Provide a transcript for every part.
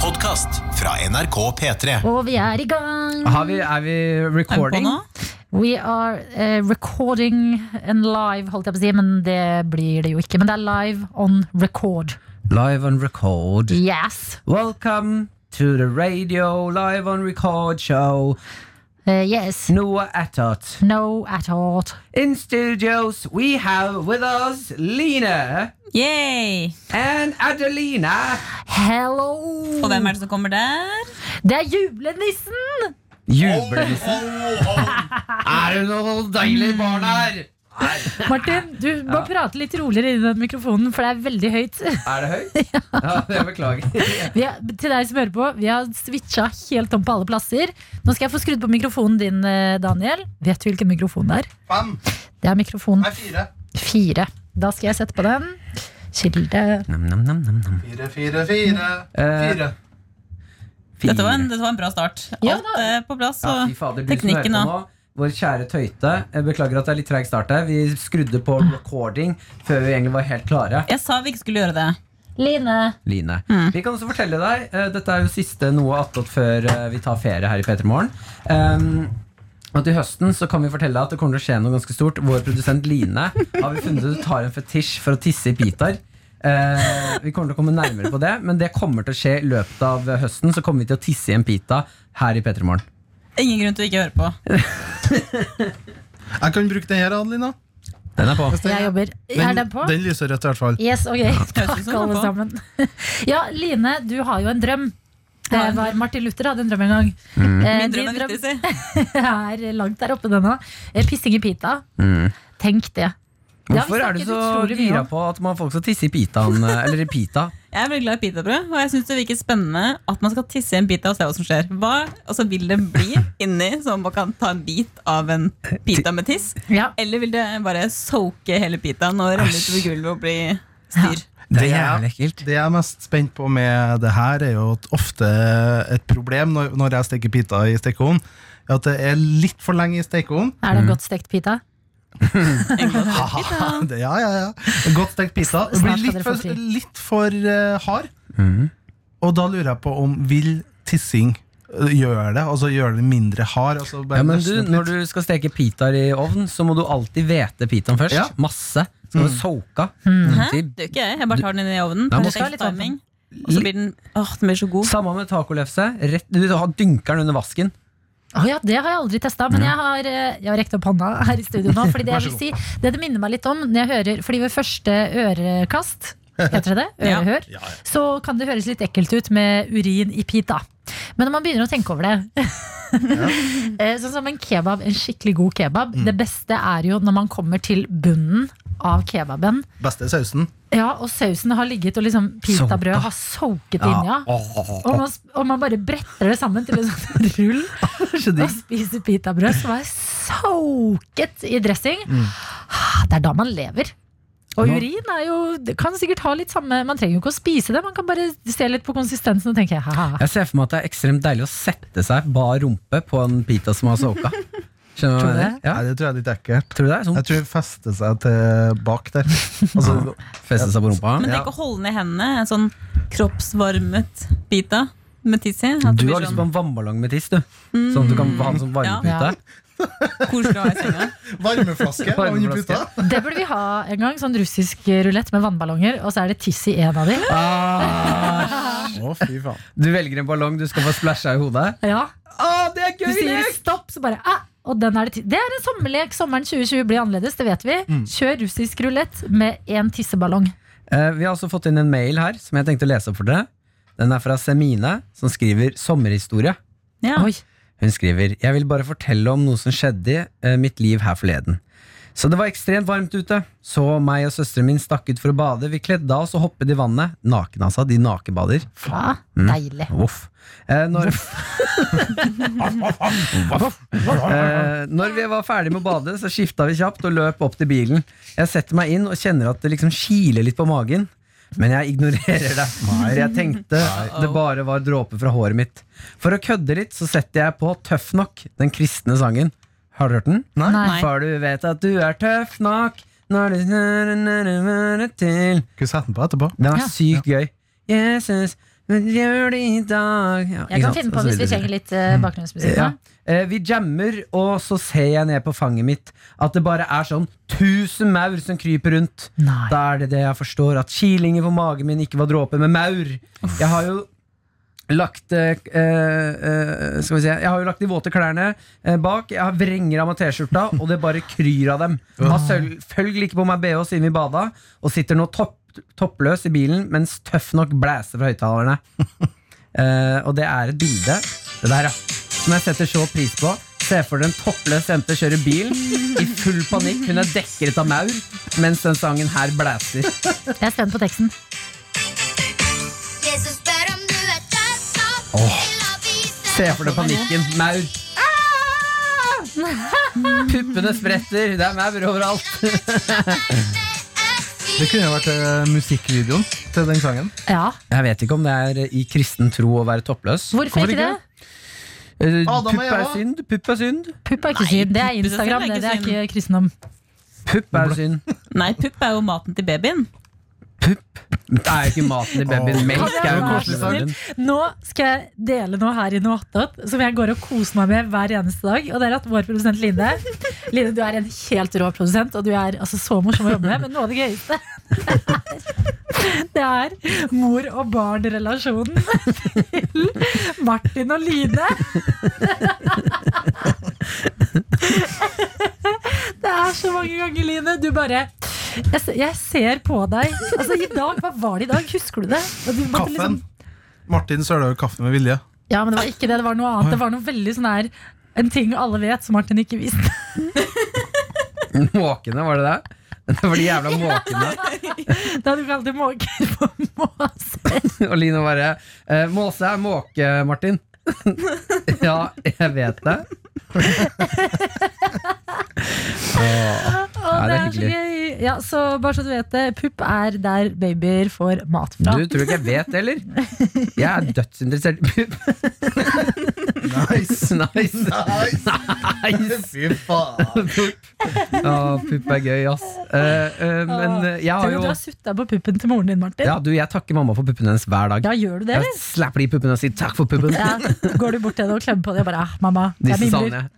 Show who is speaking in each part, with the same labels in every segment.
Speaker 1: podkast fra NRK P3.
Speaker 2: Og vi er i gang.
Speaker 3: Har vi, er vi recording?
Speaker 4: nå?
Speaker 2: We are eh, recording and live, holdt jeg på å si, men det blir det jo ikke. Men det er live on record.
Speaker 3: Live on record.
Speaker 2: Yes.
Speaker 3: Welcome to the radio live on record show.
Speaker 2: Eh, yes.
Speaker 3: Noah Attot.
Speaker 2: No at all.
Speaker 3: In studios, we have with us Lina
Speaker 4: Yay!
Speaker 3: and Adelina.
Speaker 2: Hello!
Speaker 4: Og hvem er det som kommer der?
Speaker 2: Det er julenissen!
Speaker 3: Jubelnissen. Er det noe deilig barn her?
Speaker 2: Martin, du må prate litt roligere inn i den mikrofonen, for det er veldig høyt.
Speaker 3: Er det høyt? Ja, det beklager.
Speaker 2: Vi er, til deg som hører på, vi har switcha helt om på alle plasser. Nå skal jeg få skrudd på mikrofonen din, eh, Daniel. Vet du hvilken mikrofon det er?
Speaker 5: Fem.
Speaker 2: Det er mikrofon
Speaker 5: Nei, fire.
Speaker 2: fire. Da skal jeg sette på den. Kilde.
Speaker 3: Nam, nam, nam, nam, nam.
Speaker 5: Fire, fire, fire.
Speaker 3: Eh,
Speaker 5: Fire.
Speaker 3: Fire.
Speaker 4: Dette var en, dette var en bra start. Alt
Speaker 2: Ja, da.
Speaker 4: eh, på plass.
Speaker 3: Ja, fy
Speaker 4: Og
Speaker 3: fader, du som hører
Speaker 4: teknikken
Speaker 3: på
Speaker 4: da.
Speaker 3: nå. Vår kjære Tøyte. Jeg beklager at det er litt treig start her. Vi skrudde på recording før vi egentlig var helt klare.
Speaker 4: jeg sa vi ikke skulle gjøre det.
Speaker 2: Line.
Speaker 3: Line.
Speaker 2: Mm.
Speaker 3: Vi kan også fortelle deg, eh, dette er jo siste noe attåt før eh, vi tar ferie her i Petermorgen. Um, og til høsten så kan vi fortelle deg at det kommer til å skje noe ganske stort. Vår produsent Line har vi funnet ut tar en fetisj for å tisse i pitaer. Eh, vi kommer til å komme nærmere på det, men det kommer til å skje i løpet av eh, høsten. Så kommer vi til å tisse i en pita her i Petermorgen.
Speaker 4: Ingen grunn til å ikke høre på.
Speaker 5: Jeg kan bruke den her, Adelina.
Speaker 3: Den er på.
Speaker 2: Jeg jobber. Er den på?
Speaker 5: Den lyser rødt, i hvert fall.
Speaker 2: Yes, ok. Takk,
Speaker 4: den er
Speaker 2: alle
Speaker 4: på.
Speaker 2: sammen. Ja, Line, du har jo en drøm. Det
Speaker 4: Har jeg en
Speaker 2: var Martin Luther hadde en drøm en gang.
Speaker 3: Mm.
Speaker 2: Eh,
Speaker 4: Min
Speaker 2: din
Speaker 4: drøm er viktig, si.
Speaker 2: er langt der oppe denne. Eh, Pissing i pita. Tenk det. Det har vi
Speaker 3: Mm. Hvorfor er du
Speaker 2: snakket
Speaker 3: så
Speaker 2: utrolig mye
Speaker 3: gira
Speaker 2: om.
Speaker 3: på at man folk skal tisse i pitaen? eh, Eller i pita?
Speaker 4: Jeg er veldig glad i pitabrød, og jeg syns det virker spennende at man skal tisse i en pita og se hva som skjer. Hva altså, vil det bli inni, så man kan ta en bit av en pita med tiss?
Speaker 2: Ja.
Speaker 4: Eller vil det bare soake hele pitaen og renne utover gulvet og bli styr?
Speaker 5: Det jeg, det jeg er mest spent på med det her, er jo at ofte et problem når, når jeg steker pita i stekeovnen, er at det er litt for lenge i stekeovnen.
Speaker 2: Er
Speaker 3: Mm.
Speaker 2: det en godt stekt pita?
Speaker 5: Haha, det- Ja, ja, ja. Godt stekt pita. Det
Speaker 2: Snart skal
Speaker 5: blir litt
Speaker 2: dere
Speaker 5: for,
Speaker 2: få fri.
Speaker 5: litt for eh, hard.
Speaker 3: Mm.
Speaker 5: Og da lurer jeg på om vil tissing eh, gjøre det? Altså gjøre det mindre hard? Altså bare
Speaker 3: Ja, men
Speaker 5: løsne
Speaker 3: du,
Speaker 5: opp
Speaker 3: når
Speaker 5: litt?
Speaker 3: du skal steke pitaer i ovn, så må du alltid hvete pitaen først.
Speaker 5: Ja.
Speaker 3: Masse. Skal du Mm. soka.
Speaker 4: Hæ?
Speaker 3: Til-
Speaker 4: Det gjør ikke jeg. Jeg bare tar den inn i ovnen.
Speaker 3: Nei, man
Speaker 2: skal ha litt
Speaker 4: Perfekt timing. Og så blir den Åh, den blir så god.
Speaker 3: Samme med tacolefse. Rett, du har dynker den under vasken.
Speaker 2: Å ja, det har jeg aldri testa, men jeg har, eh, jeg har rekt opp hånda her i studio nå. Fordi det, jeg vil si, det det minner meg litt om når jeg hører Fordi ved første ørekast, heter det det?
Speaker 4: Ja.
Speaker 2: Ørehør. Så kan det høres litt ekkelt ut med urin i pita. Men når man begynner å tenke over det eh, Sånn som en kebab, en skikkelig god kebab. Det beste er jo når man kommer til bunnen av kebaben.
Speaker 5: Beste sausen.
Speaker 2: Ja, og sausen har ligget, og liksom pitabrød har soket inn, ja. Og man, og man bare bretter det sammen til en sånn rull og spiser pitabrød som er soket i dressing. Ah, Det er da man lever. Og
Speaker 3: Nå-
Speaker 2: urin er jo, det kan sikkert ha litt samme Man trenger jo ikke å spise det, man kan bare se litt på konsistensen og tenke haha.
Speaker 3: Jeg ser for meg at det er ekstremt deilig å sette seg bar rumpe på en pita som har soka. Skjønner du hva jeg mener? Ja.
Speaker 5: Nei, det tror jeg er litt ekkelt.
Speaker 3: Tror du det er sånn?
Speaker 5: Jeg tror det fester seg til bak der. Altså,
Speaker 3: Feste seg på rumpa?
Speaker 4: Men
Speaker 5: Ja.
Speaker 4: tenk å holde ned hendene, en sånn kroppsvarmet pita med tiss i. At
Speaker 3: Du
Speaker 4: det
Speaker 3: har
Speaker 4: blir
Speaker 3: lyst på en
Speaker 4: sånn
Speaker 3: vannballong med tiss, du. Sånn at du kan ha en sånn varmepute.
Speaker 2: Ja.
Speaker 4: koselig å ha i senga.
Speaker 5: varmeflaske under
Speaker 3: Varmeflaske.
Speaker 5: puta.
Speaker 2: Det burde vi ha en gang, sånn russisk rulett med vannballonger, og så er det tiss i en av de.
Speaker 3: Ah,
Speaker 5: Å, fy faen.
Speaker 3: du velger en ballong du skal få splæsja i hodet.
Speaker 2: Ja,
Speaker 3: Ah, det er
Speaker 2: Du
Speaker 3: gøy!
Speaker 2: sier
Speaker 3: lek!
Speaker 2: stopp, så bare ah, og den er det, ti- det er en sommerlek. Sommeren 2020 blir annerledes, det vet vi. Kjør russisk rulett med én tisseballong.
Speaker 3: Eh, vi har også fått inn en mail her som jeg tenkte å lese opp for dere. Den er fra Semine, som skriver sommerhistorie.
Speaker 4: Ja.
Speaker 2: Oi.
Speaker 3: Hun skriver Jeg vil bare fortelle om noe som skjedde i eh, mitt liv her forleden. Så det var ekstremt varmt ute. Så meg og søsteren min stakk ut for å bade. Vi kledde av oss og hoppet i vannet. Naken, altså. De nakenbader.
Speaker 2: Ja, deilig.
Speaker 3: Voff. Eh, når, eh, når vi var ferdig med å bade, så skifta vi kjapt og løp opp til bilen. Jeg setter meg inn og kjenner at det liksom kiler litt på magen. Men jeg ignorerer det. For jeg tenkte det bare var dråper fra håret mitt. For å kødde litt så setter jeg på Tøff nok, den kristne sangen. Har du hørt den?
Speaker 2: Nei.
Speaker 3: For du vet at du er tøff nok når du hører til
Speaker 5: Skal vi sette den på etterpå?
Speaker 3: den er
Speaker 2: Ja.
Speaker 3: sykt gøy. Jesus, Men gjør det i dag ja,
Speaker 2: Jeg kan finne på hvis vi trenger litt eh, bakgrunnsmusikk.
Speaker 3: ja.
Speaker 2: nå.
Speaker 3: Eh, Vi jammer, og så ser jeg ned på fanget mitt at det bare er sånn tusen maur som kryper rundt.
Speaker 2: Nei.
Speaker 3: Da er det det jeg forstår, at kilingen på magen min ikke var dråper, men maur. Jeg har jo lagt eh, eh, Skal vi se Jeg har jo lagt de våte klærne eh, bak. Jeg har vrenger av meg T-skjorta, og det bare kryr av dem. Jeg har selvfølgelig ikke på meg BH siden vi bada, og sitter nå topp, toppløs i bilen mens tøff nok blæser fra høyttalerne. Eh, og det er et bilde Det der, ja. Som jeg setter så pris på. Se for dere en toppløs jente kjøre bil i full panikk. Hun er dekket av maur mens den sangen her blæser.
Speaker 2: Jeg er spent på teksten.
Speaker 6: Jesus, pero om du er død nå, vil jeg vise
Speaker 3: Se for deg panikken. Maur. Ah! Puppene spretter. Det er maur overalt.
Speaker 5: Det kunne jo vært eh, musikkvideoen til den sangen.
Speaker 2: Ja.
Speaker 3: Jeg vet ikke om det er i kristen tro å være toppløs.
Speaker 2: Hvorfor ikke det?
Speaker 3: Eh,
Speaker 5: Adam og
Speaker 3: Pupp er
Speaker 5: Eva.
Speaker 3: synd. Pupp er synd.
Speaker 2: Pupp er ikke synd. Det er
Speaker 4: pupp i seg selv
Speaker 2: Instagram,
Speaker 4: er
Speaker 2: det.
Speaker 4: ikke
Speaker 2: Det er ikke kristendom.
Speaker 3: Pupp er synd.
Speaker 4: Nei, pupp er jo maten til babyen.
Speaker 3: Pupp Det er jo ikke maten i babyen. Melk er jo
Speaker 2: Vær så
Speaker 3: maten i babyen.
Speaker 2: snill. Nå skal jeg dele noe her i Noatot som jeg går og koser meg med hver eneste dag. Og det er at vår produsent Line Line, du er en helt rå produsent, og du er altså, så morsom å jobbe med. Men noe av det gøyeste det er, det er mor og barn-relasjonen til Martin og Line. Det er så mange ganger, Line. Du bare jeg, se- jeg ser på deg. Altså, i dag, Hva var det i dag? Husker du det? Og du måtte liksom
Speaker 5: Kaffen. Martin søla jo kaffe med vilje.
Speaker 2: ja, men det var ikke det. Det var noe annet. Det var noe veldig sånn her en ting alle vet som Martin ikke visste.
Speaker 3: Måkene, var det det? Det var de jævla måkene.
Speaker 2: Da hadde vi alltid måker på måse.
Speaker 3: Og Line bare eh, Måse er måke, Martin. ja, jeg vet det.
Speaker 2: Og det
Speaker 3: det er
Speaker 2: er så gøy. Ja, så bare så du vet det, pupp er der babyer får mat fra.
Speaker 3: Du tror ikke jeg vet det, eller? Jeg er dødsinteressert i pupp.
Speaker 5: Nice.
Speaker 3: Nice. nice.
Speaker 5: Fy faen.
Speaker 3: Pupp. Ja, pupp er gøy, ass. Eh, eh, men eh, jeg har
Speaker 2: Tror du
Speaker 3: jo
Speaker 2: du har sutta på puppen til moren din, Martin?
Speaker 3: Ja, du, jeg takker mamma for puppene hennes hver dag.
Speaker 2: Ja, gjør du det,
Speaker 3: Jeg
Speaker 2: eller?
Speaker 3: slapper de puppene og sier takk for puppen.
Speaker 2: Ja. Går du bort til henne og klemmer på dem og bare ah, 'mamma, jeg
Speaker 3: Disse
Speaker 2: mimler'?
Speaker 3: savner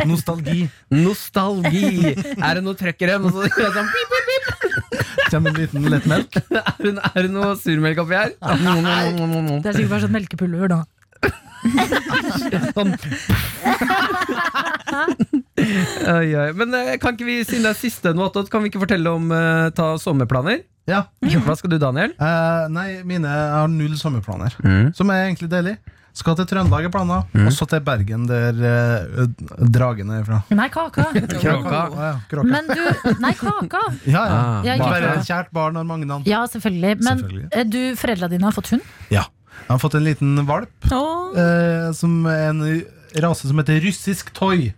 Speaker 2: Ja.
Speaker 5: Nostalgi.
Speaker 3: Nostalgi! Er det noe trøkk i dem? Og så gjør jeg sånn pip, pip, pip.
Speaker 5: Kjem en liten lettmelk.
Speaker 3: Er det- Er det noe surmelk oppi her? Nei.
Speaker 2: Det er sikkert bare sånn melkepulver nå.
Speaker 3: Sånn. oi, oi. Men eh, kan ikke vi, siden det er siste noe, annet, kan vi ikke fortelle om eh, ta sommerplaner?
Speaker 5: Ja.
Speaker 3: Hva skal du, Daniel?
Speaker 5: Eh, nei, mine jeg har null sommerplaner.
Speaker 3: Mm.
Speaker 5: Som er egentlig deilig. Skal til Trøndelag er planer, og så til Bergen, der eh, dragen er fra.
Speaker 2: Nei, kaka.
Speaker 3: Kråka.
Speaker 5: Ja, ja, kråka.
Speaker 2: Men du Nei, kaka!
Speaker 5: ja, ja.
Speaker 3: Ah,
Speaker 2: Ja, ikke
Speaker 5: Bare
Speaker 2: kråka.
Speaker 5: kjært barn har mange navn.
Speaker 2: Ja, selvfølgelig. Men
Speaker 5: Selvfølgelig.
Speaker 2: eh, du, foreldra dine har fått hund?
Speaker 5: Ja. Jeg har fått en liten valp
Speaker 4: Åh.
Speaker 5: eh, som er en rase som heter russisk toy.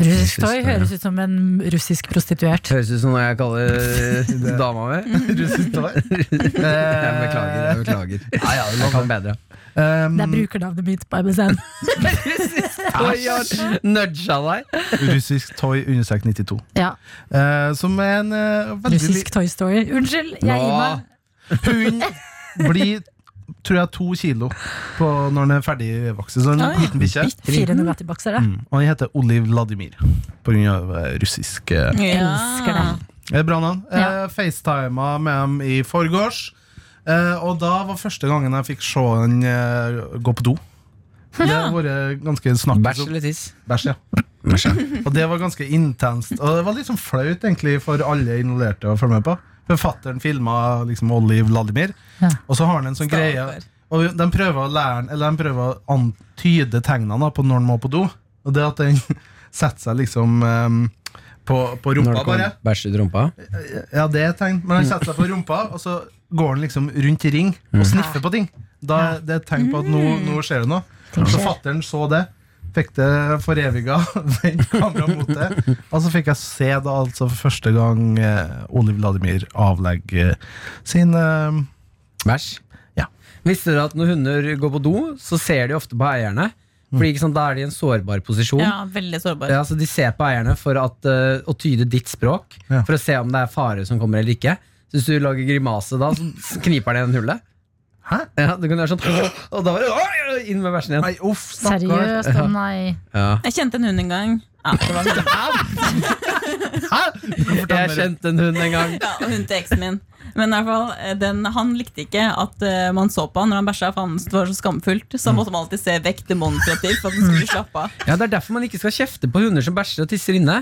Speaker 2: Russisk toy høres ut som en russisk prostituert.
Speaker 3: Høres ut som noe jeg kaller dama mi. Eh,
Speaker 5: russisk toy? Eh,
Speaker 3: Jeg beklager. jeg beklager
Speaker 5: Nei, ja, det
Speaker 3: Jeg kan bedre.
Speaker 5: ehm,
Speaker 2: Det er brukernavnet mitt på MSN.
Speaker 3: Oi, jeg nudga deg.
Speaker 5: Russisk toy understrek 92.
Speaker 2: Ja,
Speaker 5: Eh, som er en eh, veldig
Speaker 2: Russisk Toy Story. Unnskyld, jeg gir meg.
Speaker 5: Hun blir tror jeg to kilo på når den er ferdigvokst. Så en
Speaker 4: Ah, ja.
Speaker 5: liten bikkje.
Speaker 2: Fire Nugatti-bokser. da.
Speaker 5: Mm. Og den heter Oliv Vladimir. På grunn av eh, russisk eh,
Speaker 2: Elsker det.
Speaker 5: Det er bra navn.
Speaker 2: Ja.
Speaker 5: Eh, Facetima med dem i forgårs. Eh, og da var første gangen jeg fikk se han eh, gå på do. Det har vært ganske snakkes
Speaker 3: Bæsj
Speaker 5: om.
Speaker 3: eller tiss?
Speaker 5: Bæsj, ja. Og det var ganske intenst. Og det var litt sånn flaut egentlig for alle involverte å følge med på. Forfatteren filma liksom Oliv Vladimir,
Speaker 2: Ja.
Speaker 5: og så har han en sånn greie
Speaker 4: Stakkar.
Speaker 5: Og de prøver å lære han- Eller de prøver å antyde tegnene da, på når han må på do. Og det at den setter seg liksom eh, på, på rumpa, bare.
Speaker 3: bæsj ut rumpa?
Speaker 5: Ja, det er et tegn. Men han setter seg på rumpa, og så går han liksom rundt i ring og sniffer på ting. Da er det er et tegn på at nå,
Speaker 2: Mm.
Speaker 5: nå skjer det noe. Så fatteren så det. Fikk det foreviga. Vendt kameraet mot det. Og så fikk jeg se da altså for første gang eh, Oliv Vladimir avlegge sin eh,
Speaker 3: Bæsj?
Speaker 5: Ja.
Speaker 3: Visste dere at når hunder går på do, så ser de ofte på eierne? Fordi ikke sant, Da er de i en sårbar posisjon.
Speaker 4: Ja, veldig sårbar.
Speaker 3: Ja, så De ser på eierne for at, eh, å tyde ditt språk,
Speaker 5: Ja.
Speaker 3: for å se om det er fare som kommer eller ikke. Så Hvis du lager grimase da, så kniper den i den hullet.
Speaker 5: Hæ?
Speaker 3: Ja, du kan gjøre sånn Og da var det «Oi!» inn med bæsjen igjen.
Speaker 5: Nei, uff, stakkar.
Speaker 2: Seriøst, å nei.
Speaker 3: Ja.
Speaker 4: Jeg kjente en hund en gang. Ja, det var sånn.
Speaker 5: Hæ? Du kan fortelle
Speaker 3: Jeg
Speaker 5: mer.
Speaker 3: kjente en hund en gang.
Speaker 4: ja, og hun til eksen min. Men i hvert fall, eh, den, han likte ikke at eh, man så på han når han bæsja, for han syntes det var så skamfullt. Så måtte man alltid se vekk demonstrativt for at han skulle slappe av.
Speaker 3: Ja, Det er derfor man ikke skal kjefte på hunder som bæsjer og tisser inne.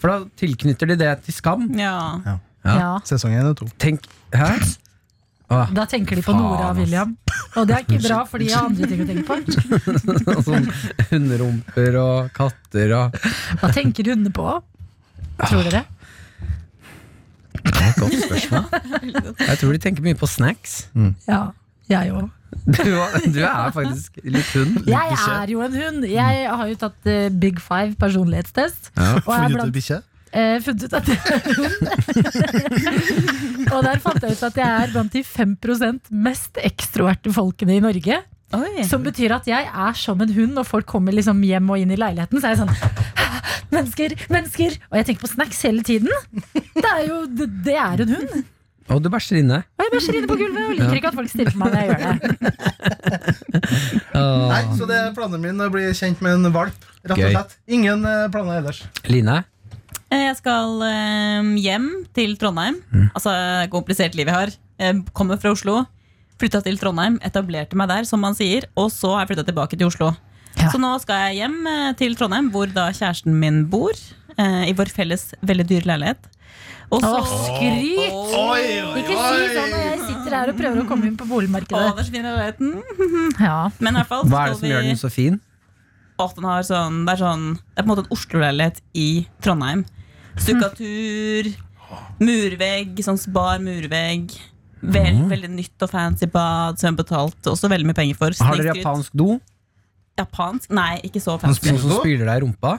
Speaker 3: For da tilknytter de det til skam.
Speaker 4: Ja.
Speaker 3: Ja.
Speaker 2: Ja.
Speaker 5: Sesong én og to.
Speaker 3: Tenk, hæ? Åh,
Speaker 2: Da tenker de på
Speaker 3: Faen,
Speaker 2: Nora og
Speaker 3: ass.
Speaker 2: William. Og det er ikke bra, for de har andre ting å tenke på.
Speaker 3: sånn hunderumper og katter og
Speaker 2: Hva tenker hundene på? Tror dere?
Speaker 3: Det er et godt spørsmål. Jeg tror de tenker mye på snacks.
Speaker 2: Ja, jeg òg.
Speaker 3: Du, du er faktisk litt hund.
Speaker 2: Jeg er jo en hund. Jeg har jo tatt eh, Big Five personlighetstest. Og jeg er
Speaker 5: Funnet ut
Speaker 2: blant,
Speaker 5: bikkje?
Speaker 2: eh, funnet ut at jeg er hund. og der fant jeg ut at jeg er blant de 5 mest ekstroverte folkene i Norge.
Speaker 4: Oi.
Speaker 2: Som betyr at jeg er som en hund når folk kommer liksom hjem og inn i leiligheten. Så er jeg sånn Mennesker, mennesker! Og jeg tenker på snacks hele tiden. Det er jo det, det er en hund.
Speaker 3: Og du bæsjer inne.
Speaker 2: Og jeg bæsjer inne på gulvet og liker ikke at folk stirrer på meg når jeg gjør det.
Speaker 5: Nei, så det er planen min å bli kjent med en valp. Rett og
Speaker 3: Gøy.
Speaker 5: slett. Ingen eh, planer ellers.
Speaker 3: Line,
Speaker 4: Eh, Jeg skal eh, hjem til Trondheim.
Speaker 3: Mm.
Speaker 4: Altså, komplisert liv jeg har. Jeg kommer fra Oslo, flytta til Trondheim, etablerte meg der, som man sier, og så har jeg flytta tilbake til Oslo.
Speaker 2: Ja.
Speaker 4: Så nå skal jeg hjem eh, til Trondheim, hvor da kjæresten min bor. eh, I vår felles veldig dyre leilighet. Og
Speaker 2: Å,
Speaker 4: så
Speaker 2: skryt! Ikke si sånn når jeg sitter her og prøver å komme inn på
Speaker 4: Å,
Speaker 2: boligmarkedet.
Speaker 4: det er så fin leiligheten.
Speaker 2: Ja.
Speaker 4: Men i hvert fall
Speaker 3: hva er det
Speaker 4: skal
Speaker 3: som gjør
Speaker 4: vi-
Speaker 3: den så fin?
Speaker 4: at den har sånn Det er sånn Det er på en måte en Oslo-leilighet i Trondheim. Stukkatur, murvegg, sånn bar murvegg. Vel,
Speaker 3: Mhm.
Speaker 4: Veldig nytt og fancy bad som jeg betalte også veldig mye penger for.
Speaker 3: Har dere
Speaker 4: Snikskryt.
Speaker 3: japansk do?
Speaker 4: Japansk? Nei, ikke så
Speaker 5: Han
Speaker 4: fancy.
Speaker 3: Noe som spyler deg i rumpa?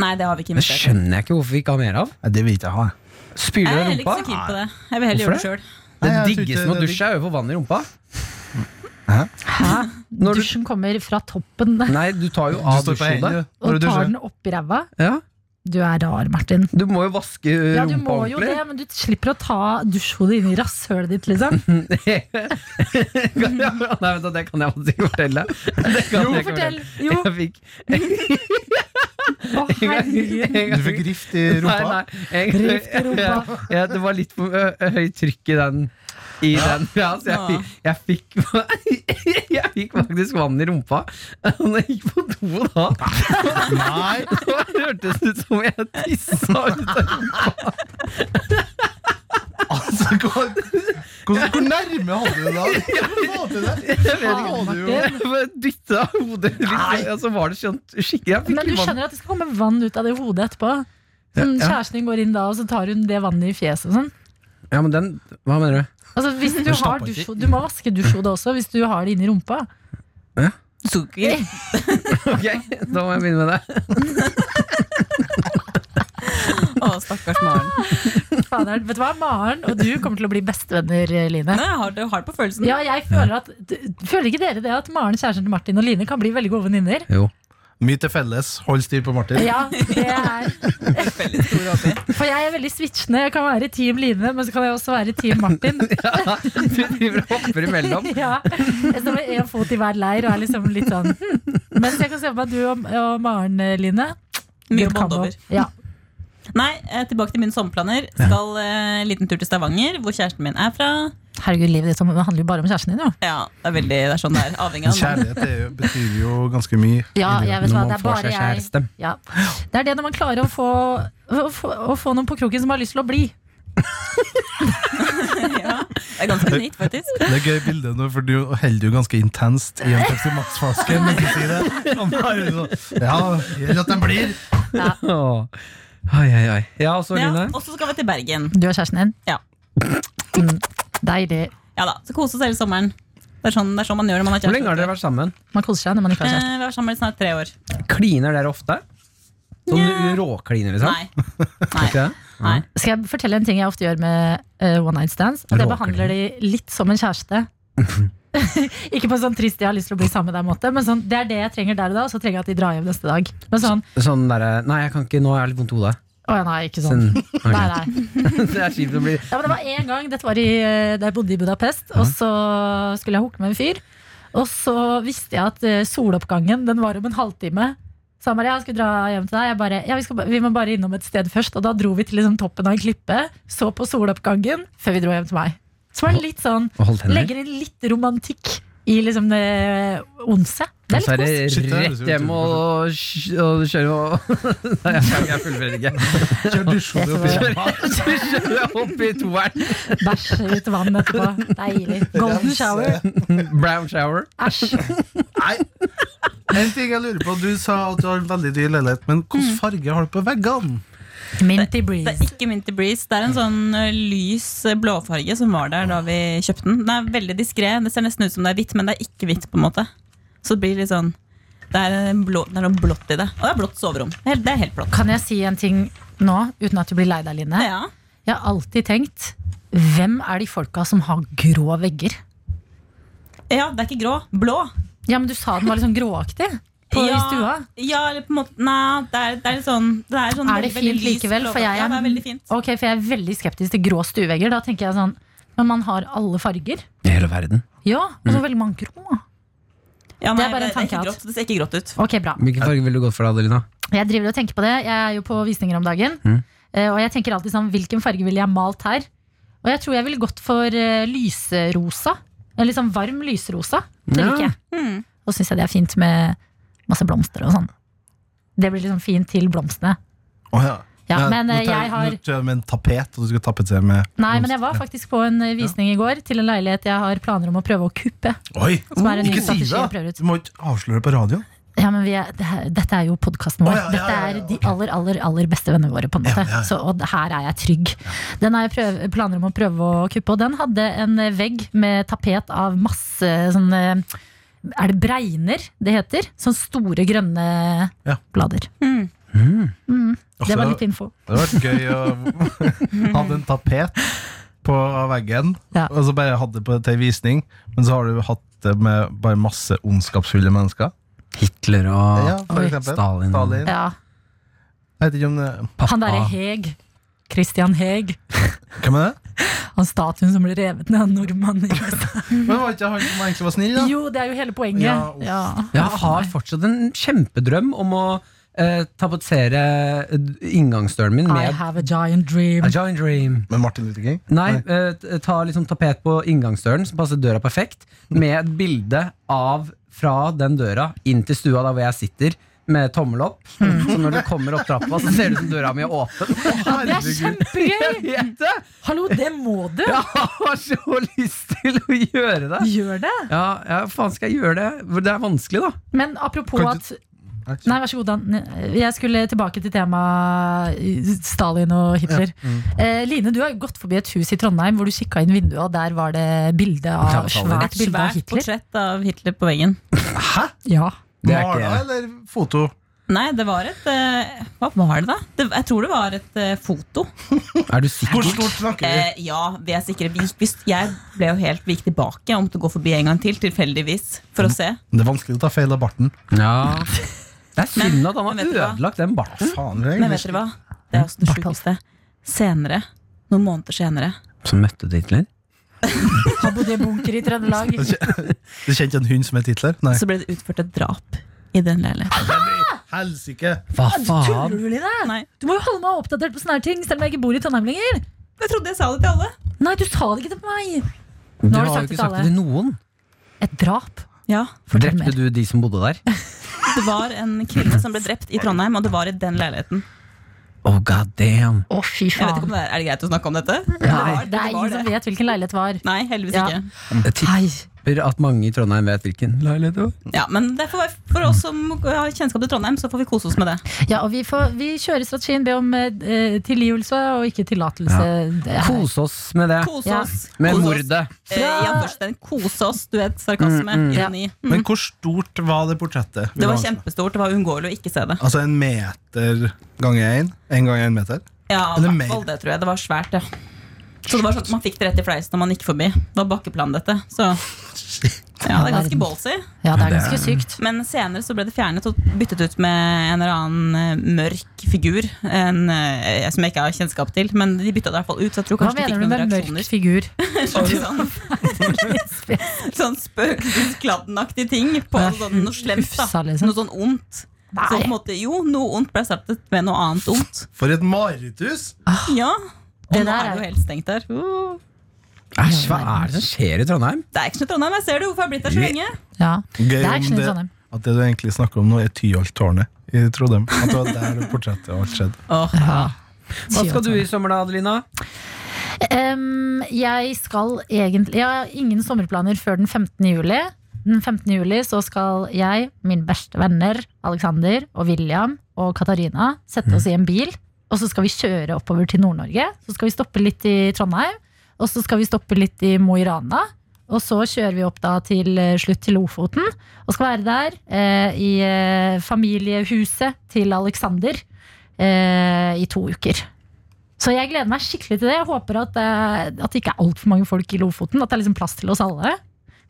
Speaker 4: Nei, det har vi ikke
Speaker 3: Det
Speaker 4: investert i.
Speaker 3: skjønner jeg ikke hvorfor vi ikke har mer av.
Speaker 5: Nei, det vil ikke jeg ha. jeg.
Speaker 3: Spyler deg
Speaker 4: Jeg er
Speaker 3: i
Speaker 4: heller ikke så
Speaker 3: rumpa?
Speaker 4: keen på det. Jeg vil heller
Speaker 3: Hvorfor
Speaker 4: gjøre det sjøl.
Speaker 5: Nei,
Speaker 3: Det
Speaker 5: jeg tror ikke
Speaker 3: diggeste med å
Speaker 5: det er
Speaker 3: dusje er jo å få vann i rumpa. Når du-
Speaker 2: Dusjen kommer fra toppen der,
Speaker 3: Nei, du tar jo
Speaker 5: Du
Speaker 3: av
Speaker 5: står på
Speaker 3: dusjhodet.
Speaker 5: hendene når
Speaker 2: og tar
Speaker 5: du dusjer.
Speaker 2: den oppi ræva.
Speaker 3: Ja,
Speaker 2: Du er rar, Martin.
Speaker 3: du må jo vaske eh,
Speaker 2: Ja, du
Speaker 3: rumpa
Speaker 2: må jo det,
Speaker 3: ordentlig.
Speaker 2: men du slipper å ta dusjhodet inn i rasshølet ditt, liksom.
Speaker 3: Nei, vent da, det kan jeg faktisk ikke fortelle. Det kan
Speaker 2: Jo,
Speaker 3: jeg ikke
Speaker 2: fortell!
Speaker 3: fortelle.
Speaker 2: Jo,
Speaker 3: Jeg fikk
Speaker 2: å
Speaker 3: en gang-
Speaker 2: herregud.
Speaker 3: en gang-
Speaker 5: Du fikk rift i rumpa.
Speaker 3: Nei, nei, jeg-
Speaker 2: Rift i rumpa.
Speaker 3: Ja, ja, det var litt for ø, ø, høyt trykk i den. I den. Ja, så jeg, fikk- jeg, fikk, jeg fikk faktisk vann i rumpa når jeg gikk på do da.
Speaker 5: Nei.
Speaker 3: Og det hørtes ut som jeg tissa ut av
Speaker 5: Altså, hvor, hvor, hvor nærme hadde du det da? Hvordan få til det?
Speaker 2: Faen,
Speaker 5: Hadde du
Speaker 2: Martin.
Speaker 5: jo-
Speaker 3: Jeg dytta hodet litt, og så var det skjønt skikkelig. Jeg fikk
Speaker 2: Men du
Speaker 3: litt vann.
Speaker 2: skjønner at det skal komme vann ut av det hodet etterpå? Sånn,
Speaker 3: Ja, ja.
Speaker 2: kjæresten din går inn da, og så tar hun det vannet i fjeset og sånn.
Speaker 3: Ja, men den, Hva mener du?
Speaker 2: Altså, hvis du, har
Speaker 5: stapper ikke
Speaker 2: dusjhode, du må vaske dusjhodet også hvis du har det inni rumpa.
Speaker 4: Sukker.
Speaker 3: Ok, Da må jeg begynne med det.
Speaker 4: Å, stakkars Maren.
Speaker 2: Fader, vet du hva, Maren og du kommer til å bli bestevenner, Line.
Speaker 4: Nei, Jeg har det hard på følelsen.
Speaker 2: Ja, jeg føler at d- Føler ikke dere det at Maren, kjæresten til Martin og Line kan bli veldig gode venninner?
Speaker 5: Mye til felles. Hold styr på Martin.
Speaker 2: Ja, det er For jeg er veldig switchende. Jeg kan være Team Line, men så kan jeg også være Team Martin.
Speaker 3: Du driver og hopper imellom.
Speaker 2: Ja, Jeg står med én fot i hver leir og er liksom litt sånn hm. Mens jeg kan se for meg at du og, og Maren, eh, Line
Speaker 4: Mye
Speaker 2: good
Speaker 4: bånd
Speaker 2: combo.
Speaker 4: over.
Speaker 2: Ja.
Speaker 4: Nei, eh, tilbake til mine sommerplaner. Skal eh, en liten tur til Stavanger, hvor kjæresten min er fra.
Speaker 2: Herregud, livet ditt som- det handler jo bare om kjæresten din, jo.
Speaker 4: Ja, det er veldig, det er sånn det er. Avhengig av
Speaker 5: Kjærlighet er, jo- betyr jo ganske mye.
Speaker 2: Ja, jeg vet
Speaker 3: Når
Speaker 2: hva,
Speaker 3: man
Speaker 2: det er
Speaker 3: får
Speaker 2: bare
Speaker 3: seg
Speaker 2: jeg
Speaker 3: kjæreste.
Speaker 2: ja. Det er det når man klarer å få, å, få, å få noen på kroken som har lyst til å bli.
Speaker 4: ja, Det er ganske unikt, faktisk.
Speaker 5: Det er gøy bilde nå, for du holder jo ganske intenst i en Pepsi Max-flaske. men ikke si det. Han bare er sånn, Ja, gjør at den blir.
Speaker 3: Åh. Oi, oi, oi. Ja, og så
Speaker 4: Ja,
Speaker 3: Line?
Speaker 4: og så skal vi til Bergen.
Speaker 2: Du og kjæresten din?
Speaker 4: Ja.
Speaker 2: Mm, deilig.
Speaker 4: Ja da, Så kose oss hele sommeren. Det er sånn, det er sånn man gjør når man har
Speaker 3: Hvor lenge har dere vært sammen?
Speaker 2: Man koser seg når man ikke har
Speaker 4: Eh,
Speaker 2: kjæreste.
Speaker 4: vi har sammen i snart tre år.
Speaker 3: Kliner dere ofte? Sånn
Speaker 4: Nja.
Speaker 3: råkliner, liksom?
Speaker 4: Nei. Nei.
Speaker 3: Ikke det?
Speaker 4: Nei.
Speaker 2: Skal jeg fortelle en ting jeg ofte gjør med eh, one night stands? At jeg
Speaker 3: Råker
Speaker 2: behandler de litt som en kjæreste. ikke på en sånn trist 'jeg har lyst til å bli sammen med deg'-måte, men sånn, det er det jeg trenger der og da, og så trenger jeg at de drar hjem neste dag. Men sånn
Speaker 3: Sånn derre Nei, jeg kan ikke, nå har jeg litt vondt i hodet.
Speaker 2: Å ja, nei, ikke sånn.
Speaker 3: Sen- ok.
Speaker 2: Nei, nei.
Speaker 3: det er kjipt å bli
Speaker 2: Ja, men det var en gang, dette var i, eh, da jeg bodde i Budapest, og så skulle jeg hooke med en fyr. Og så visste jeg at eh, soloppgangen den var om en halvtime. Så han bare, ja, skal vi dra hjem til deg? Jeg bare, ja, vi, skal, ba- vi må bare innom et sted først. Og da dro vi til liksom, toppen av en klippe, så på soloppgangen, før vi dro hjem til meg. Så var det litt sånn,
Speaker 3: å holde hender.
Speaker 2: legger inn litt romantikk i liksom det onse. Det
Speaker 3: Og så
Speaker 2: er
Speaker 3: er
Speaker 2: litt
Speaker 3: det
Speaker 2: kos.
Speaker 5: Shit, det liksom
Speaker 3: rett
Speaker 5: høres jo
Speaker 3: hjem og, sk- og kjøre og Nei, jeg er- jeg fullfører ikke.
Speaker 5: Kjør dusjhode oppi
Speaker 2: Jeg
Speaker 5: ræva.
Speaker 3: Så kjører jeg opp i toeren.
Speaker 2: Bæsjer ut vann etterpå. Deilig. Golden shower.
Speaker 3: Brown shower.
Speaker 2: Æsj.
Speaker 5: Nei. En ting jeg lurer på, Du sa at du har en veldig dyr leilighet, men hvilken farge har du på veggene?
Speaker 2: Minty
Speaker 4: Det
Speaker 2: breeze.
Speaker 4: er ikke Minty Breeze. Det er en sånn ø, lys ø, blåfarge som var der da vi kjøpte den. Den er veldig diskré. Det ser nesten ut som det er hvitt, men det er ikke hvitt. på en måte Så det blir litt sånn Det er, en blå, det er noe blått i det. Og det er blått soverom. Det er helt, det er helt blått.
Speaker 2: Kan jeg si en ting nå, uten at du blir lei deg, Line?
Speaker 4: Ja.
Speaker 2: Jeg har alltid tenkt hvem er de folka som har grå vegger?
Speaker 4: ja, det er ikke grå. Blå.
Speaker 2: Ja, men Du sa den var liksom gråaktig på,
Speaker 4: ja,
Speaker 2: i stua.
Speaker 4: Ja, eller på en måte Nei, det er, det er litt sånn Det er, sånn
Speaker 2: Er det
Speaker 4: veldig, veldig
Speaker 2: fint
Speaker 4: lys
Speaker 2: likevel? For
Speaker 4: blåfarge.
Speaker 2: jeg
Speaker 4: ja, det er
Speaker 2: er,
Speaker 4: veldig fint.
Speaker 2: Ok, for jeg er veldig skeptisk til grå stuevegger. Da tenker jeg sånn Men man har alle farger.
Speaker 3: I hele verden.
Speaker 2: Ja, og så velger man grå.
Speaker 4: Ja,
Speaker 2: Det er
Speaker 4: nei,
Speaker 2: bare en tanke
Speaker 4: ikke
Speaker 2: jeg har
Speaker 4: grått. Det ser ikke grått ut.
Speaker 2: Ok, bra.
Speaker 3: Hvilken farge ville du gått for, da, Adelina?
Speaker 2: Jeg driver og tenker på det. Jeg er jo på visninger om dagen.
Speaker 3: Mm.
Speaker 2: Eh, Og jeg tenker alltid sånn Hvilken farge ville jeg malt her? Og jeg tror jeg ville gått for eh, lyserosa. En litt sånn varm lyserosa. Det
Speaker 3: Ja.
Speaker 2: liker jeg.
Speaker 4: Mm.
Speaker 2: Og syns jeg det er fint med masse blomster og sånn. Det blir liksom fint til blomstene.
Speaker 5: Oh, ja.
Speaker 2: Ja, men
Speaker 5: nå
Speaker 2: eh,
Speaker 5: tar-
Speaker 2: jeg
Speaker 5: Nå
Speaker 2: har
Speaker 5: tror jeg med en tapet, og du skal tapetsere med
Speaker 2: Nei, men jeg var faktisk på en eh, visning i går til en leilighet jeg har planer om å prøve å kuppe.
Speaker 5: Oi!
Speaker 2: Som er en ny
Speaker 5: Ikke si
Speaker 2: strategi
Speaker 5: det!
Speaker 2: å prøve ut.
Speaker 5: Du må ikke avsløre det på radioen.
Speaker 2: Ja, men vi er, det her, Dette er jo podkasten vår.
Speaker 5: Å, ja, ja,
Speaker 2: dette
Speaker 5: ja,
Speaker 2: er
Speaker 5: ja,
Speaker 2: de aller aller, aller beste vennene våre. på en måte
Speaker 5: Ja, ja, ja.
Speaker 2: Så, Og her er jeg trygg. Den har jeg prøv, planer om å prøve å kuppe, og den hadde en eh, vegg med tapet av masse sånn eh, Er det bregner det heter? Sånne store, grønne
Speaker 5: Ja.
Speaker 2: blader.
Speaker 4: Mm.
Speaker 2: Mm. Det var
Speaker 5: Altså,
Speaker 2: litt info.
Speaker 5: Det hadde vært gøy å ha en tapet på veggen,
Speaker 2: Ja.
Speaker 5: og så bare hatt det på til visning, men så har du hatt det med bare masse ondskapsfulle mennesker.
Speaker 3: Hitler og
Speaker 5: Ja, for
Speaker 2: Oi.
Speaker 5: eksempel.
Speaker 3: Stalin.
Speaker 2: Ja.
Speaker 5: Jeg vet ikke om det
Speaker 3: pappa.
Speaker 2: Han
Speaker 5: Ah.
Speaker 2: derre Heg. Christian Heg.
Speaker 5: Hvem er det?
Speaker 2: Han statuen som ble revet ned av nordmannen i USA.
Speaker 5: Men var ikke han som egentlig var snill, da?
Speaker 2: Jo, det er jo hele poenget.
Speaker 5: Ja, uff.
Speaker 2: Ja.
Speaker 3: Jeg har fortsatt en kjempedrøm om å eh, tapetere eh, inngangsdøren min
Speaker 2: I
Speaker 3: med
Speaker 2: have a giant dream.
Speaker 3: A giant dream.
Speaker 5: Med Martin Luther King?
Speaker 3: Nei, eh, t- ta liksom tapet på inngangsdøren, som passer døra perfekt, med et bilde av fra den døra inn til stua der hvor jeg sitter, med tommel opp. Så når du kommer opp trappa, så ser det ut som døra mi er åpen.
Speaker 2: Det er kjempegøy!
Speaker 3: Vet du?
Speaker 2: Hallo, det må du!
Speaker 3: Jeg har så lyst til å gjøre det!
Speaker 2: Gjør det!
Speaker 3: Ja, ja, faen skal jeg gjøre det? Det er vanskelig, da.
Speaker 2: Men apropos
Speaker 5: Kan
Speaker 2: at Nei, vær så god, Dan. Jeg skulle tilbake til temaet Stalin og Hitler.
Speaker 4: mm.
Speaker 2: Eh, Line, du har gått forbi et hus i Trondheim hvor du kikka inn vinduet, og der var det bilde av,
Speaker 3: Kravetaler.
Speaker 2: svært
Speaker 4: Et
Speaker 2: bilde av
Speaker 4: svært
Speaker 2: Hitler.
Speaker 4: portrett av Hitler på veggen.
Speaker 5: Hæ?
Speaker 2: Ja.
Speaker 3: Det er ikke-
Speaker 5: Mala eller foto?
Speaker 4: Nei, det var et eh, Hva var det, da? Det, jeg tror det var et eh, foto.
Speaker 3: Er du sikker?
Speaker 5: Hvor stort snakker vi?
Speaker 4: Eh, ja, vi er sikre. Vi, gikk- vi, jeg ble jo helt Vi gikk tilbake og måtte gå forbi en gang til, tilfeldigvis, for å se.
Speaker 5: Det er vanskelig å ta feil av barten.
Speaker 3: Ja. Det er synd at han
Speaker 4: Men
Speaker 3: har
Speaker 4: vet du hva?
Speaker 3: ødelagt den barten.
Speaker 5: Faen, det er
Speaker 4: Men vet dere
Speaker 5: egentlig
Speaker 4: hva? Det er også det
Speaker 2: Barthold.
Speaker 4: sjukeste. Senere, noen måneder senere
Speaker 3: Som møtte du Hitler?
Speaker 2: Han bodde i en bunker i Trøndelag.
Speaker 5: Du kjente en hund som het Hitler? Nei.
Speaker 4: så ble det utført et drap i den leiligheten.
Speaker 5: Helsike!
Speaker 3: Hva
Speaker 2: Tuller
Speaker 3: faen?
Speaker 2: du, Line?
Speaker 4: Nei.
Speaker 2: Du må jo holde meg oppdatert på sånne her ting, selv om jeg ikke bor i Trondheim lenger.
Speaker 4: Jeg trodde jeg sa det til alle.
Speaker 2: Nei, du sa det ikke til meg!
Speaker 3: Du
Speaker 2: Nå har du
Speaker 3: har jo
Speaker 2: sagt det
Speaker 3: ikke
Speaker 2: til
Speaker 3: sagt det
Speaker 2: alle.
Speaker 3: til noen.
Speaker 2: Et drap.
Speaker 4: Ja,
Speaker 2: Fortell
Speaker 3: Drepte
Speaker 2: mer.
Speaker 3: du de som bodde der?
Speaker 4: Det var en kvinne som ble drept i Trondheim, og det var i den leiligheten.
Speaker 3: Oh god damn.
Speaker 2: Å, fy
Speaker 4: Jeg vet ikke
Speaker 2: faen.
Speaker 4: om det Er, er det greit å snakke om dette?
Speaker 2: Nei,
Speaker 4: var-
Speaker 2: det er
Speaker 4: var
Speaker 2: ingen som
Speaker 4: det.
Speaker 2: vet hvilken leilighet det var.
Speaker 4: Nei, heldigvis
Speaker 2: Ja.
Speaker 4: ikke.
Speaker 3: Jeg tipper
Speaker 2: Nei.
Speaker 3: at mange i Trondheim vet hvilken leilighet det var.
Speaker 4: Ja, men det får være- For oss som har kjennskap til Trondheim, så får vi kose oss med det.
Speaker 2: Ja, og vi, får, vi kjører strategien be om eh, tilgivelse og ikke tillatelse. Det er-
Speaker 3: Kose oss med det.
Speaker 4: Kose
Speaker 2: Ja.
Speaker 4: oss.
Speaker 3: Med
Speaker 4: Kose oss.
Speaker 3: mordet.
Speaker 4: Eh, I anførselen kose oss. Du vet, sarkasme, ironi. Mm.
Speaker 5: Men hvor stort var det portrettet?
Speaker 4: Det var kjempestort. Det var uunngåelig å ikke se det.
Speaker 5: Altså en meter ganger én? En ganger en meter?
Speaker 4: Ja,
Speaker 5: Eller
Speaker 4: i hvert
Speaker 5: mer.
Speaker 4: fall det tror jeg. Det var svært, ja. Så det var sånn at Man fikk det rett i fleisen når man gikk forbi. Det var bakkeplan, dette. Så Ja, det er ganske ballsy.
Speaker 2: Ja, det er ganske sykt.
Speaker 4: Men senere så ble det fjernet og byttet ut med en eller annen eh, mørk figur. En, eh, som jeg ikke har kjennskap til, men de bytta det i hvert fall ut. Så jeg tror
Speaker 2: Hva
Speaker 4: kanskje de
Speaker 2: mener
Speaker 4: fikk
Speaker 2: du
Speaker 4: noen
Speaker 2: med mørk
Speaker 4: reaksjoner.
Speaker 2: figur?
Speaker 4: sånn sånn spøkelseskladdenaktig ting på
Speaker 2: Nei,
Speaker 4: sånn, noe slemt. da
Speaker 2: ufsa, liksom.
Speaker 4: Noe sånn ondt. Så på en
Speaker 2: Nei,
Speaker 4: måte, jo, noe ondt ble erstattet med noe annet ondt.
Speaker 5: For et mareritthus!
Speaker 4: Ja, Og
Speaker 2: Det
Speaker 4: nå
Speaker 2: der
Speaker 4: er det
Speaker 2: er-
Speaker 4: jo helt stengt der. Uh.
Speaker 2: Æsj, hva er
Speaker 3: det som skjer i Trondheim?
Speaker 4: Det er ikke noe Trondheim. Jeg ser det, hvorfor har jeg blitt der så lenge?
Speaker 2: ja.
Speaker 5: Gøy
Speaker 2: Det er
Speaker 5: om
Speaker 2: ikke noe sånn. Trondheim.
Speaker 5: At det du egentlig snakker om nå, er Tyholttårnet i Trondheim. At det var der portrettet alt skjedde.
Speaker 3: Hva skal du i sommer, da, Adelina?
Speaker 2: Em, jeg skal egentlig Jeg har ingen sommerplaner før den 15. juli. Den 15. juli så skal jeg, mine beste venner, Alexander og William og Katarina, sette
Speaker 5: Mm.
Speaker 2: oss i en bil. Og så skal vi kjøre oppover til Nord-Norge. Så skal vi stoppe litt i Trondheim. Og så skal vi stoppe litt i Mo i Rana. Og så kjører vi opp da til eh, slutt til Lofoten. Og skal være der eh, i eh, familiehuset til Alexander eh, i to uker. Så jeg gleder meg skikkelig til det. Jeg håper at, eh, at det ikke er altfor mange folk i Lofoten. At det er liksom plass til oss alle.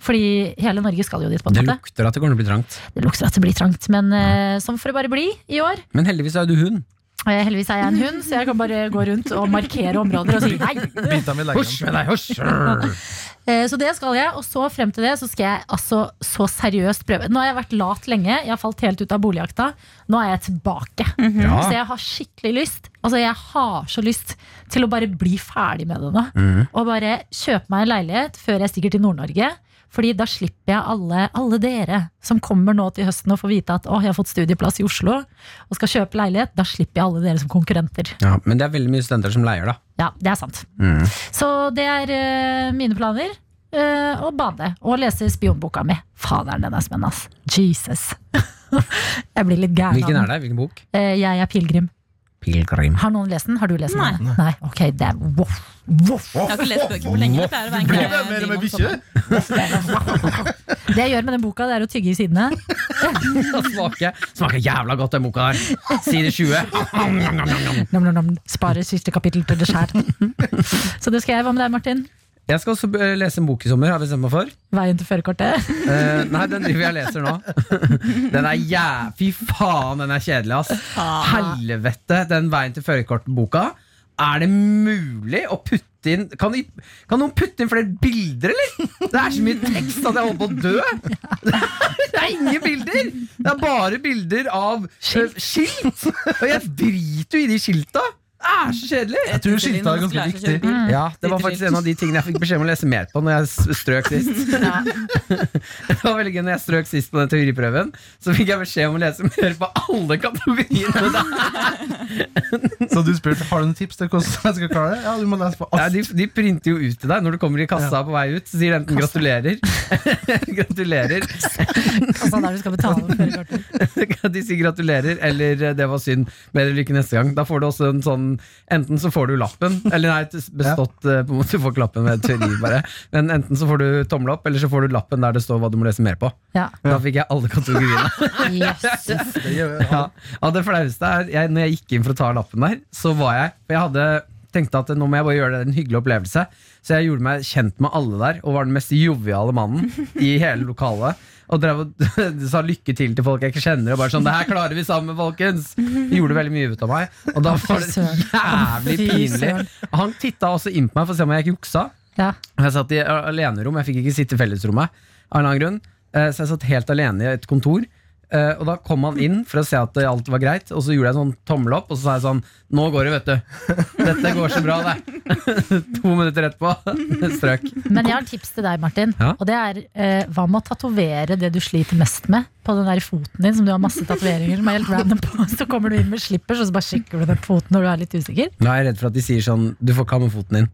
Speaker 2: Fordi hele Norge skal jo dit. på en
Speaker 3: Det
Speaker 2: måte
Speaker 3: lukter at det kommer til å bli trangt.
Speaker 2: Det lukter at det blir trangt, men eh, sånn får det bare bli i år.
Speaker 3: Men heldigvis er jo du hund.
Speaker 2: Eh, heldigvis er jeg en hund, så jeg kan bare gå rundt og markere områder og si nei.
Speaker 5: Bit dem i
Speaker 3: Hysj
Speaker 5: leggen.
Speaker 3: med deg, hysj!
Speaker 2: Eh, Så det skal jeg, og så frem til det så skal jeg altså så seriøst prøve. Nå har jeg vært lat lenge, jeg har falt helt ut av boligjakta. Nå er jeg tilbake.
Speaker 3: Ja.
Speaker 2: Så jeg har skikkelig lyst. Altså jeg har så lyst til å bare bli ferdig med det nå. Og bare kjøpe meg en leilighet før jeg stikker til Nord-Norge. Fordi da slipper jeg alle, alle dere som kommer nå til høsten og får vite at å, jeg har fått studieplass i Oslo og skal kjøpe leilighet. Da slipper jeg alle dere som konkurrenter.
Speaker 3: Ja, men det er veldig mye studenter som leier, da.
Speaker 2: Ja, det er sant.
Speaker 3: Mm.
Speaker 2: Så det er eh, mine planer. eh, å bade og lese spionboka mi. Faderen, den er spennende, ass. Jesus. jeg blir litt gæren. Eh,
Speaker 3: Hvilken er det? Hvilken bok?
Speaker 2: jeg er pilegrim.
Speaker 3: Pilgrim.
Speaker 2: Har noen lest den? Har du lest
Speaker 4: Nei.
Speaker 2: den? Nei. Ok, det er voff, voff.
Speaker 4: Jeg har ikke lest bøker på lenge. Det pleier å være en
Speaker 5: Blir det
Speaker 4: greie
Speaker 5: mer
Speaker 4: din
Speaker 5: med
Speaker 4: om
Speaker 5: bikkje?
Speaker 4: sommeren.
Speaker 2: Det jeg gjør med den boka, det er å tygge i sidene.
Speaker 3: Smaker, smaker jævla godt, den boka her. Side 20.
Speaker 2: Nom, nom, nom. Sparer siste kapittel til dessert. Så det skal jeg. Hva med deg, Martin?
Speaker 3: Jeg skal også eh, lese en bok i sommer, har jeg bestemt meg for.
Speaker 2: Veien til førerkortet.
Speaker 3: Eh, nei, den driver jeg og leser nå. Den er jæ... Fy faen, den er kjedelig, ass. Helvete, den veien til førerkortboka. Er det mulig å putte inn kan, de, kan noen putte inn flere bilder, eller? Det er så mye tekst at jeg holder på å dø! Det er ingen bilder! Det er bare bilder av eh,
Speaker 2: Skilt.
Speaker 3: skilt! Og jeg driter jo i de skilta! Det er så kjedelig!
Speaker 5: Jeg tror skiltet er ganske viktig.
Speaker 4: Mm.
Speaker 3: Ja, Det var faktisk en av de tingene jeg fikk beskjed om å lese mer på Når jeg s- strøk sist. Det var veldig gøy når jeg strøk sist på den teoriprøven. Så fikk jeg beskjed om å lese mer på alle kategoriene. der.
Speaker 5: Så du spurte har du noen tips til hvordan jeg skal klare det. Ja, du må lese på
Speaker 3: Nei,
Speaker 5: alt.
Speaker 3: de, de printer jo ut til deg når du kommer i kassa på vei ut. Så sier de enten gratulerer Gratulerer
Speaker 2: Altså der du skal betale for førerkortet.
Speaker 3: De sier gratulerer, eller eh, 'det var synd, bedre lykke neste gang'. Da får du også en sånn Enten så får du lappen, eller nei, bestått eh, på en måte, Du får ikke lappen ved teori, bare. Men enten så får du tommel opp, eller så får du lappen der det står hva du må lese mer på.
Speaker 2: Ja.
Speaker 3: Da fikk jeg alle kategoriene.
Speaker 2: Yes.
Speaker 5: Det gjør-
Speaker 3: Ja, ja det flaueste er jeg, Når jeg gikk inn for å ta lappen der, så var jeg For jeg hadde tenkt at nå må jeg bare gjøre det en hyggelig opplevelse. Så jeg gjorde meg kjent med alle der, og var den mest joviale mannen i hele lokalet. Og drev og sa lykke til til folk jeg ikke kjenner. Og bare sånn, det her klarer vi sammen, folkens Gjorde veldig mye ut av meg. Og da var det jævlig pinlig. Han titta også inn på meg for å se om jeg ikke juksa.
Speaker 2: Ja.
Speaker 3: Jeg satt i alenerom, jeg fikk ikke sitte i fellesrommet av en eller annen grunn. Eh, Så jeg satt helt alene i et kontor. eh, Og da kom han inn for å se at eh, alt var greit, og så gjorde jeg sånn tommel opp, og så sa jeg sånn Nå går det, vet du. Dette går så bra, det. To minutter etterpå strøk.
Speaker 2: Men jeg har et tips til deg, Martin.
Speaker 3: Ja.
Speaker 2: Og det er, eh, Hva med å tatovere det du sliter mest med på den der foten din? Som du har masse tatoveringer som er helt random på. Så kommer du inn med slippers og så bare sjekker du den foten når du er litt usikker.
Speaker 3: Nå er jeg redd for at de sier sånn Du får ikke ha med foten din.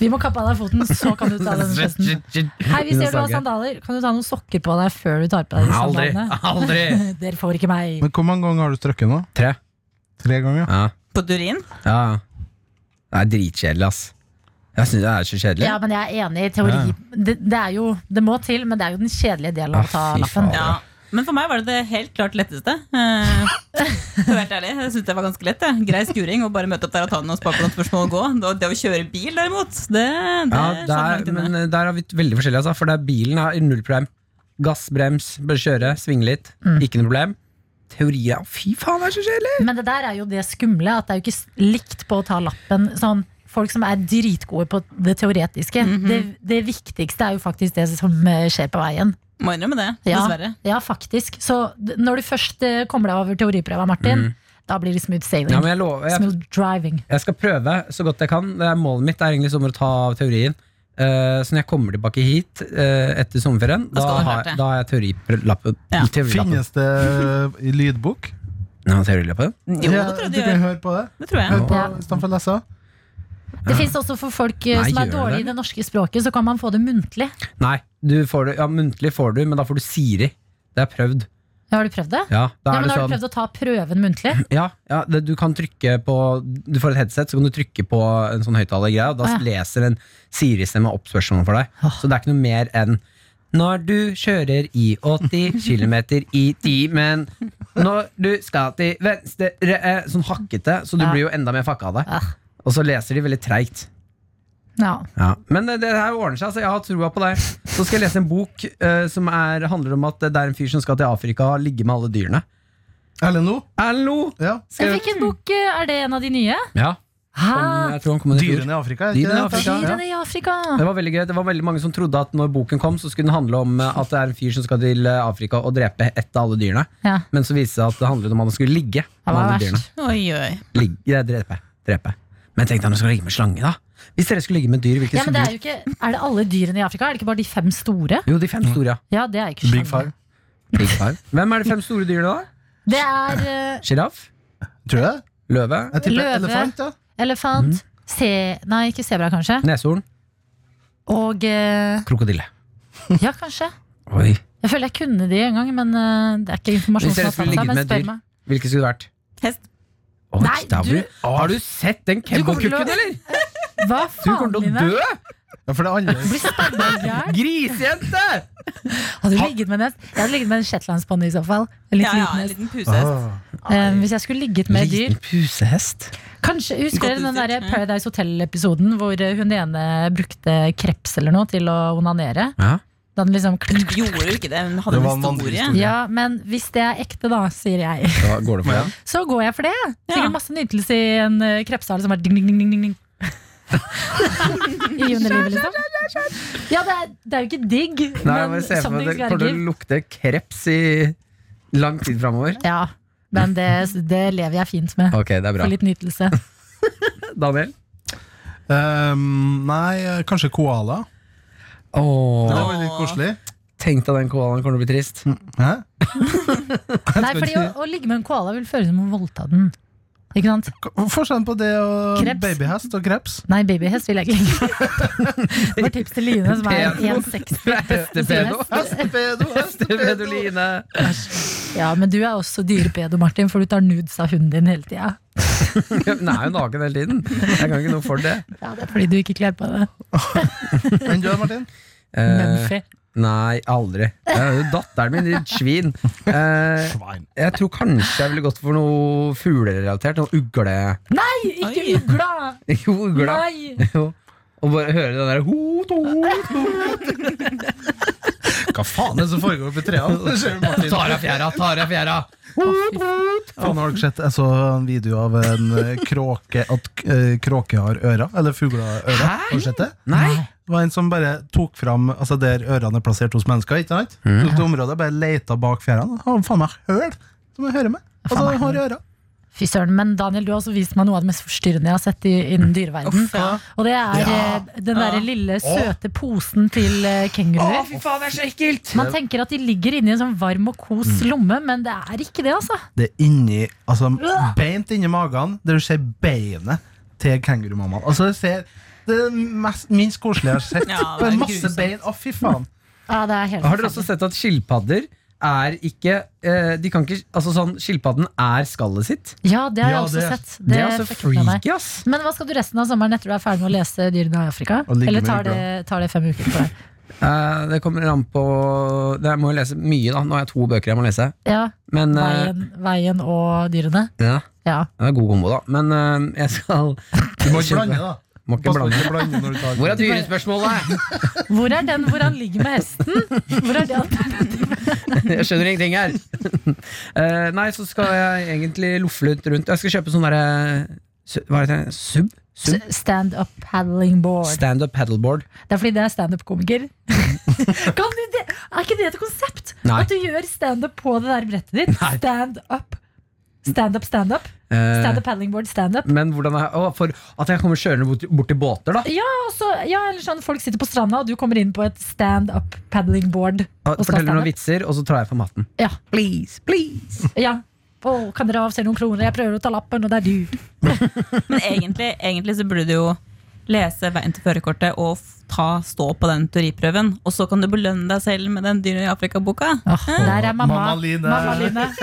Speaker 2: Vi må kappe av deg foten, så kan du ta den festen. Hei, sånn. vi ser du har sandaler. Kan du ta noen sokker på deg før du tar på deg de
Speaker 3: Aldri!
Speaker 2: sandalene?
Speaker 3: Aldri!
Speaker 2: Dere får ikke meg.
Speaker 5: Men hvor mange ganger har du strøkket nå?
Speaker 3: Tre.
Speaker 5: Tre ganger?
Speaker 3: Ja.
Speaker 4: På Durin.
Speaker 3: ja. Det er dritkjedelig, ass. Jeg syns det er så kjedelig.
Speaker 2: Ja, men jeg er enig i teori. Det, det er jo, det må til, men det er jo den kjedelige delen av å ta
Speaker 3: Ah, fy
Speaker 2: lappen.
Speaker 3: faen.
Speaker 4: Ja. Men for meg var det det helt klart letteste. Eh, For å være helt ærlig, Jeg synes det var ganske lett. jeg. Grei skuring og bare møte opp der og ta noen spare på noen spørsmål og gå. Det, det å kjøre bil, derimot, det, det
Speaker 3: Ja,
Speaker 4: er så
Speaker 3: eh,
Speaker 4: langt
Speaker 3: der,
Speaker 4: inne.
Speaker 3: men eh, der er vi t- veldig forskjellige, altså, for der bilen er null prime. Gass, brems, bør kjøre, svinge litt. Ikke noe problem. Teorier ja, Fy faen, det er så kjedelig!
Speaker 2: Men det der er jo det skumle, at det er jo ikke s- likt på å ta lappen. Sånn, folk som er dritgode på det teoretiske. det, det viktigste er jo faktisk det som eh, skjer på veien.
Speaker 4: Må innrømme det,
Speaker 2: Ja,
Speaker 4: dessverre.
Speaker 2: ja faktisk. Så d- når du først eh, kommer deg over teoriprøva, Martin, da blir det smooth sailing.
Speaker 3: Mhm. Ja, men jeg, lover, jeg,
Speaker 2: smooth driving.
Speaker 3: jeg skal prøve så godt jeg kan. Det er målet mitt er egentlig sommer å ta av teorien. Eh, så når jeg kommer tilbake hit eh, etter sommerferien, da,
Speaker 4: skal du ha
Speaker 3: har,
Speaker 4: hørt det.
Speaker 3: da har jeg teorilappen.
Speaker 4: Ja.
Speaker 3: teorilappen.
Speaker 5: Finnes det eh, i lydbok?
Speaker 3: Ja, teorilappen.
Speaker 4: Jo, det
Speaker 5: Ja,
Speaker 4: tror jeg
Speaker 5: du
Speaker 4: du
Speaker 5: kan
Speaker 4: gjør.
Speaker 5: høre på det.
Speaker 4: Det tror jeg.
Speaker 5: Hør på
Speaker 2: Ja.
Speaker 5: istedenfor å lese.
Speaker 2: Det fins også for folk eh,
Speaker 3: Nei,
Speaker 2: som
Speaker 3: gjør
Speaker 2: er
Speaker 3: det
Speaker 2: dårlige
Speaker 3: det?
Speaker 2: i det norske språket, så kan man få det muntlig.
Speaker 3: Nei, du får det, ja, muntlig får du, men da får du Siri. Det er prøvd.
Speaker 2: Ja, har du prøvd det?
Speaker 3: Ja,
Speaker 2: Ja,
Speaker 3: da er
Speaker 2: men
Speaker 3: det
Speaker 2: har du
Speaker 3: sånn
Speaker 2: prøvd å ta prøven muntlig?
Speaker 3: Ja, ja det, du kan trykke på Du får et headset, så kan du trykke på en sånn høyttalergreie, og da
Speaker 2: Ah, ja.
Speaker 3: leser en Siri-stemme opp spørsmålene for deg. Så det er ikke noe mer enn når du kjører i 80 km i timen Når du skal til venstre eh, Sånn hakkete, så du
Speaker 2: Ja. Ah.
Speaker 3: blir jo enda mer fucka av det.
Speaker 2: Ja.
Speaker 3: Og så leser de veldig treigt.
Speaker 2: Ja.
Speaker 3: Ja. Men det, det her ordner seg, så jeg har trua på deg. Så skal jeg lese en bok eh, som er, handler om at det er en fyr som skal til Afrika og ligge med alle dyrene.
Speaker 5: Eller nå?
Speaker 3: Hallo!
Speaker 5: Ja.
Speaker 3: Skal jeg-
Speaker 2: Hvilken bok eh, er det en av de nye?
Speaker 3: Ja.
Speaker 2: Hæ?
Speaker 3: Jeg tror han kommer til
Speaker 5: Dyrene i Afrika? er ikke
Speaker 3: Dyrene i
Speaker 5: det?
Speaker 3: Afrika,
Speaker 2: Dyrene i Afrika.
Speaker 3: Det var veldig gøy, det var veldig mange som trodde at når boken kom, så skulle den handle om eh, at det er en fyr som skal til eh, Afrika og drepe ett av alle dyrene.
Speaker 2: Ja.
Speaker 3: Men så viste det seg at det handlet om at han skulle ligge
Speaker 2: Det
Speaker 3: med
Speaker 2: var
Speaker 3: alle
Speaker 2: verst.
Speaker 3: dyrene.
Speaker 4: Oi, oi.
Speaker 3: Ligge, ja, drepe, drepe. Men tenk deg om du skal ligge med slange, da. Hvis dere skulle ligge med dyr, hvilke
Speaker 2: Ja, men det er,
Speaker 3: skulle
Speaker 2: jo ikke, er det alle dyrene i Afrika? Er det ikke bare de fem store?
Speaker 3: Jo, de fem store, ja.
Speaker 2: Ja, Det er jo ikke
Speaker 5: Big
Speaker 2: slange.
Speaker 5: Five.
Speaker 2: Mm.
Speaker 3: Big five. Hvem er de fem store dyrene, da?
Speaker 2: Det er eh,
Speaker 3: Sjiraff?
Speaker 5: Tror du det?
Speaker 3: Løve?
Speaker 5: Jeg tipper
Speaker 2: Løve.
Speaker 5: elefant. ja
Speaker 2: elefant,
Speaker 3: Mm.
Speaker 2: se, nei, ikke sebra kanskje,
Speaker 3: Neshorn?
Speaker 2: og eh,
Speaker 3: Krokodille.
Speaker 2: ja, kanskje.
Speaker 3: Oi.
Speaker 2: Jeg føler jeg kunne de en gang, men eh, det er ikke informasjon
Speaker 3: Hvis
Speaker 2: som
Speaker 3: dere
Speaker 2: har tatt
Speaker 3: skulle
Speaker 2: seg.
Speaker 3: ligget
Speaker 2: Men
Speaker 3: med
Speaker 2: spør
Speaker 3: dyr,
Speaker 2: meg.
Speaker 3: hvilke skulle det vært?
Speaker 4: Hest.
Speaker 3: Oi,
Speaker 2: Nei,
Speaker 3: da har
Speaker 2: du-
Speaker 3: vi- Har du sett den
Speaker 2: kommer til å-
Speaker 3: kebabkukken, eller?
Speaker 2: Hva
Speaker 3: Du kommer
Speaker 2: faen,
Speaker 3: til
Speaker 2: Line?
Speaker 3: å dø!
Speaker 5: Ja, for det er annerledes.
Speaker 2: Blir sperma i hjel?
Speaker 3: Grisejente!
Speaker 2: Hadde du ligget med en hest? Jeg hadde ligget med en shetlandsponni i så fall. En litt
Speaker 4: Ja, ja,
Speaker 2: liten
Speaker 4: en
Speaker 2: hest.
Speaker 4: liten pusehest.
Speaker 5: Ah.
Speaker 2: Eh, hvis jeg skulle ligget med dyr
Speaker 3: Liten pusehest.
Speaker 2: Kanskje, Husker
Speaker 4: Godt
Speaker 2: dere den
Speaker 4: utstyrt,
Speaker 2: der
Speaker 4: ja.
Speaker 2: Paradise Hotel-episoden hvor eh, hun ene brukte kreps eller noe til å onanere?
Speaker 3: Ja.
Speaker 2: Da den liksom klirr-
Speaker 4: Hun gjorde jo ikke det, hun hadde
Speaker 5: Det
Speaker 4: en
Speaker 5: var en
Speaker 4: historie.
Speaker 5: vandrehistorie.
Speaker 2: Ja, men hvis det er ekte, da, sier jeg,
Speaker 3: Da går det for den.
Speaker 2: så går jeg for det.
Speaker 4: Ja.
Speaker 2: Sikkert masse nytelse i en eh, krepshale som er ding, ding, ding, ding, ding. I underlivet, liksom. Ja, det er, det er jo ikke digg,
Speaker 3: Nei, jeg
Speaker 2: men
Speaker 3: bare ser for
Speaker 2: something's
Speaker 3: meg at Det
Speaker 2: gotta
Speaker 3: kommer til
Speaker 2: give.
Speaker 3: å lukte kreps i lang tid framover.
Speaker 2: Ja, men det, det lever jeg fint med.
Speaker 3: Ok, det er bra.
Speaker 2: For litt nytelse.
Speaker 3: Daniel?
Speaker 5: Ehm, nei, kanskje koala. Det
Speaker 3: Åh, Mm.
Speaker 5: var litt koselig.
Speaker 3: tenk deg den koalaen kommer til å bli trist.
Speaker 5: Hæ?
Speaker 2: Nei, fordi å, å ligge med en koala vil føles som å voldta den. Ikke sant?
Speaker 5: Hva er Forskjellen på det og
Speaker 2: Kreps.
Speaker 5: babyhest og kreps?
Speaker 2: Nei, babyhest vil jeg ikke ligge med. Det var tips til Line, som er
Speaker 3: Pedo.
Speaker 2: 1,60.
Speaker 3: Du er Hestepedo!
Speaker 5: Hestepedo,
Speaker 3: Hestepedo, Line!
Speaker 2: Ja, men du er også dyrepedo, Martin, for du tar nudes av hunden din hele tida.
Speaker 3: Hun er jo naken hele tiden. Jeg kan ikke noe for det.
Speaker 2: Ja, det er fordi du ikke kler på deg.
Speaker 5: Enn du, Martin?
Speaker 3: Eh,
Speaker 2: Mumphy.
Speaker 3: nei, aldri. Det er jo datteren min, ditt svin. Eh,
Speaker 5: Svein.
Speaker 3: jeg tror kanskje jeg ville gått for noe fuglerelatert. Noe ugle...
Speaker 2: Nei, ikke
Speaker 4: Oi.
Speaker 2: ugla!
Speaker 3: Jo, ugle.
Speaker 2: Nei!
Speaker 3: Jo. Og bare høre den der hot, hot,
Speaker 5: Hva faen er det som foregår oppi trærne? Ser du Martin?
Speaker 3: Tar av fjæra, tar av fjæra!
Speaker 5: Faen, har dere sett Jeg så en video av en eh, kråke At eh, kråke har ører, eller fugler har ører. Har du sett det?
Speaker 3: Nei!
Speaker 5: Det var en som bare tok fram altså der ørene er plassert hos mennesker. ikke sant? Tok til området, Bare leita bak fjærene. Han Har faen meg høl som jeg hører med. Altså,
Speaker 2: Faen meg
Speaker 5: han har ører.
Speaker 2: Fy søren, men Daniel, du har også vist meg noe av det mest forstyrrende jeg har sett i, innen dyreverden. Og det er eh, den derre lille søte posen til eh, kenguruer.
Speaker 3: fy faen, det er så ekkelt!
Speaker 2: Man tenker at de ligger inni en sånn varm og kos
Speaker 3: Mm.
Speaker 2: lomme, men det er ikke det, altså.
Speaker 5: Det er inni, altså beint inni magen, der du ser beinet til kengurumammaen. Altså, det, ser, det er det mest, minst koselige jeg har sett.
Speaker 4: Ja, det
Speaker 5: det
Speaker 4: er
Speaker 5: er masse
Speaker 4: grusomt.
Speaker 5: bein. Å, fy faen.
Speaker 2: Ja, det er helt
Speaker 3: Har dere også
Speaker 2: forferdelig.
Speaker 3: sett at skilpadder er ikke eh, De kan ikke Altså sånn, Skilpadden er skallet sitt.
Speaker 2: Ja, det har
Speaker 5: Ja,
Speaker 2: jeg også
Speaker 5: det-
Speaker 2: sett.
Speaker 3: Det, er altså
Speaker 2: fikk jeg med meg.
Speaker 3: freaky, ass.
Speaker 2: Men hva skal du resten av sommeren etter du er ferdig med å lese Dyrene i Afrika?
Speaker 5: Og ligge
Speaker 2: Eller
Speaker 5: med
Speaker 2: tar det,
Speaker 5: ugla.
Speaker 2: tar det fem uker for deg?
Speaker 3: Eh, det kommer an på det, Jeg må jo lese mye, da. Nå har jeg to bøker jeg må lese.
Speaker 2: Ja,
Speaker 3: Men eh,
Speaker 2: veien, veien og dyrene.
Speaker 3: ja,
Speaker 2: Ja.
Speaker 3: det er god kombo, da. Men eh, jeg skal
Speaker 5: Du må ikke blande, da.
Speaker 3: Må ikke
Speaker 5: Pass på
Speaker 3: blande.
Speaker 5: ikke å blande når du tar
Speaker 7: Hvor er dyrespørsmålet?
Speaker 2: Hvor er den hvor han ligger med hesten? Hvor er det alternativet?
Speaker 7: Jeg skjønner ingenting her.
Speaker 3: Eh, nei, så skal jeg egentlig loffe litt rundt. Jeg skal kjøpe sånn derre su- Hva heter det? Sub? Sub?
Speaker 2: Stand up paddling board.
Speaker 3: Standup paddleboard.
Speaker 2: Det er fordi det er standup-komiker. Kan du det? Er ikke det et konsept?
Speaker 3: Nei.
Speaker 2: At du gjør standup på det der brettet ditt?
Speaker 3: Nei.
Speaker 2: Stand up. Standup, standup.
Speaker 3: Eh,
Speaker 2: Standup paddling board, standup.
Speaker 3: men hvordan er Å, for at jeg kommer kjørende bort, bort til båter, da.
Speaker 2: Ja, og så- ja, eller sånn folk sitter på stranda, og du kommer inn på et stand up paddling board.
Speaker 3: Og
Speaker 2: Og skal
Speaker 3: Forteller noen
Speaker 2: standup.
Speaker 3: vitser, og så tar jeg for maten.
Speaker 2: Ja.
Speaker 7: Please, please.
Speaker 2: ja. Å, kan dere avse noen kroner? Jeg prøver å ta lappen, og det er du.
Speaker 4: Men egentlig, egentlig så burde du jo lese veien til førerkortet og f- ta, stå på den teoriprøven. Og så kan du belønne deg selv med den dyre i Afrika-boka.
Speaker 2: Der er mamma.
Speaker 5: Mamma Line.
Speaker 2: Mamma Line.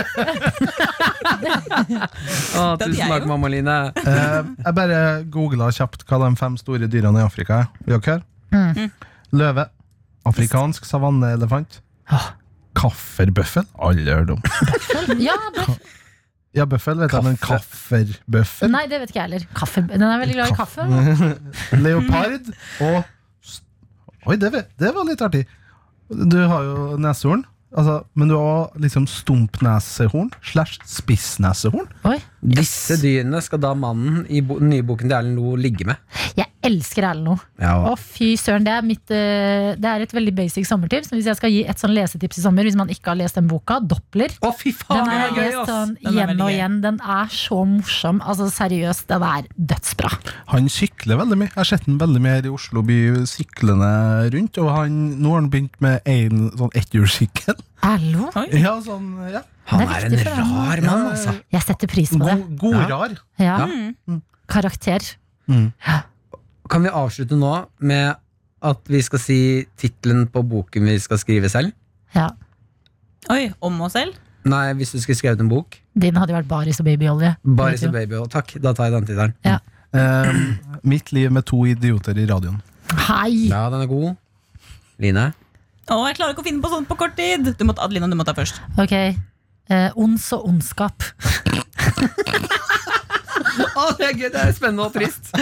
Speaker 3: Å,
Speaker 4: Den
Speaker 3: tusen
Speaker 4: er
Speaker 3: takk,
Speaker 4: jo-
Speaker 3: mamma Line.
Speaker 5: Eh, jeg bare googla kjapt hva de fem store dyrene i Afrika er. Vil dere høre?
Speaker 3: Mm.
Speaker 5: Løve. Afrikansk savanneelefant.
Speaker 3: Ah.
Speaker 5: Kafferbøffel? Aldri hørt om.
Speaker 2: Ja, bøff.
Speaker 5: Ja, bøffel vet jeg, men kafferbøffel.
Speaker 2: Nei, det vet ikke jeg heller. Kaffe. Den er veldig glad i kaffe.
Speaker 3: Mm.
Speaker 5: Leopard og s- Oi, det, vet- det var litt artig. Du har jo neshorn, altså, men du har også liksom stumpneshorn slash spissneshorn.
Speaker 2: Oi.
Speaker 3: Disse dyrene skal da mannen i bo den nye boken til Erlend Loe ligge med.
Speaker 2: Jeg elsker Erlend Loe. Å,
Speaker 3: Ja,
Speaker 2: fy søren. Det er, mitt, eh, det er et veldig basic sommertips. Men hvis jeg skal gi et sånn lesetips i sommer, hvis man ikke har lest den boka, Doppler
Speaker 3: Å, fy
Speaker 2: Den
Speaker 3: faen, det
Speaker 2: er
Speaker 3: er gøy,
Speaker 2: lest
Speaker 3: ass!
Speaker 2: sånn
Speaker 4: Den er
Speaker 2: igjen
Speaker 4: veldig
Speaker 2: og
Speaker 4: gøy.
Speaker 2: igjen. Den er så morsom. Altså Seriøst, den er dødsbra.
Speaker 5: Han sykler veldig mye. Jeg har sett han veldig mye her i Oslo by syklende rundt. Og han, nå har han begynt med en sånn etthjulssykkel.
Speaker 2: Erlo,
Speaker 5: Ja, sånn, ja.
Speaker 3: Han
Speaker 2: Det
Speaker 3: er
Speaker 2: er
Speaker 3: en
Speaker 2: viktig for han.
Speaker 3: rar mann, altså.
Speaker 2: jeg setter pris på det.
Speaker 5: Sånn God, god rar.
Speaker 2: Ja. Karakter.
Speaker 3: Kan vi avslutte nå med at vi skal si tittelen på boken vi skal skrive selv?
Speaker 2: Ja.
Speaker 4: Oi, om oss selv?
Speaker 3: Nei, hvis du skulle skrevet en bok.
Speaker 2: Din hadde jo vært Baris og babyolje.
Speaker 3: Bare
Speaker 2: Vet
Speaker 3: så
Speaker 2: du.
Speaker 3: baby og takk. Da tar jeg den tittelen.
Speaker 5: Eh, mitt liv med to idioter i radioen.
Speaker 2: Hei!
Speaker 3: Ja, den er god. Line?
Speaker 4: Å, jeg klarer ikke å finne på sånt på kort tid! Du må ta, Adelina, du må ta først.
Speaker 2: Ok. Eh, ons og ondskap.
Speaker 3: Å, det er gøy! Det er spennende og trist.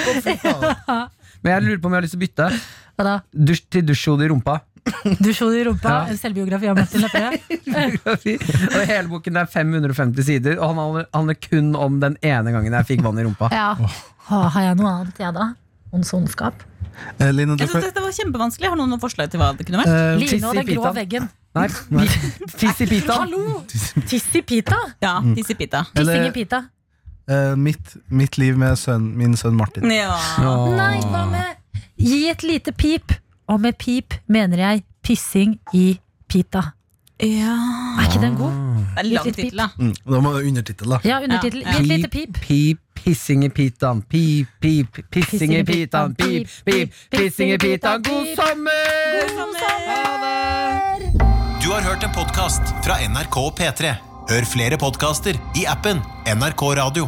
Speaker 3: Men jeg lurer på om jeg har lyst til å bytte.
Speaker 2: Hva da?
Speaker 3: Dusj til dusjhode i rumpa.
Speaker 2: Dusjhode i rumpa.
Speaker 3: Ja.
Speaker 2: En selvbiografi av Martin Lepperød.
Speaker 3: og hele boken er 550 sider, og han handler- handler kun om den ene gangen jeg fikk vann i rumpa.
Speaker 2: Ja. Å, har jeg noe annet, jeg da? Ons og ondskap.
Speaker 5: Eh, Line, du
Speaker 4: Jeg
Speaker 5: kan
Speaker 4: synes dette var kjempevanskelig. Har noen noen forslag til hva det kunne vært?
Speaker 2: Line
Speaker 5: eh,
Speaker 2: og
Speaker 3: Tiss i
Speaker 2: den grå
Speaker 3: pitaen.
Speaker 2: veggen.
Speaker 3: Nei, tiss i pitaen.
Speaker 2: Hallo! Tiss i pita?
Speaker 4: Ja,
Speaker 5: mm.
Speaker 4: Tissipita.
Speaker 2: Tissing
Speaker 5: Eller-
Speaker 2: i pita.
Speaker 5: eh, mitt, mitt liv med sønnen, min sønn Martin.
Speaker 4: Ja.
Speaker 2: Nei, hva med Gi et lite pip. Og med pip mener jeg pissing i pita.
Speaker 4: ja.
Speaker 2: Er ikke den god?
Speaker 4: Det er lang
Speaker 2: Litt pip.
Speaker 4: tittel, da.
Speaker 5: Mm, da må det undertittel, da.
Speaker 2: Ja, undertittel.
Speaker 4: Ja,
Speaker 2: Gi et lite pip.
Speaker 3: Pip, pissing i pitan, pip, pip, pissing i pitan, pip, pip, pissing i pitan. God sommer!
Speaker 1: Du har hørt en podcast fra NRK P3. Hør flere podcaster i appen NRK Radio.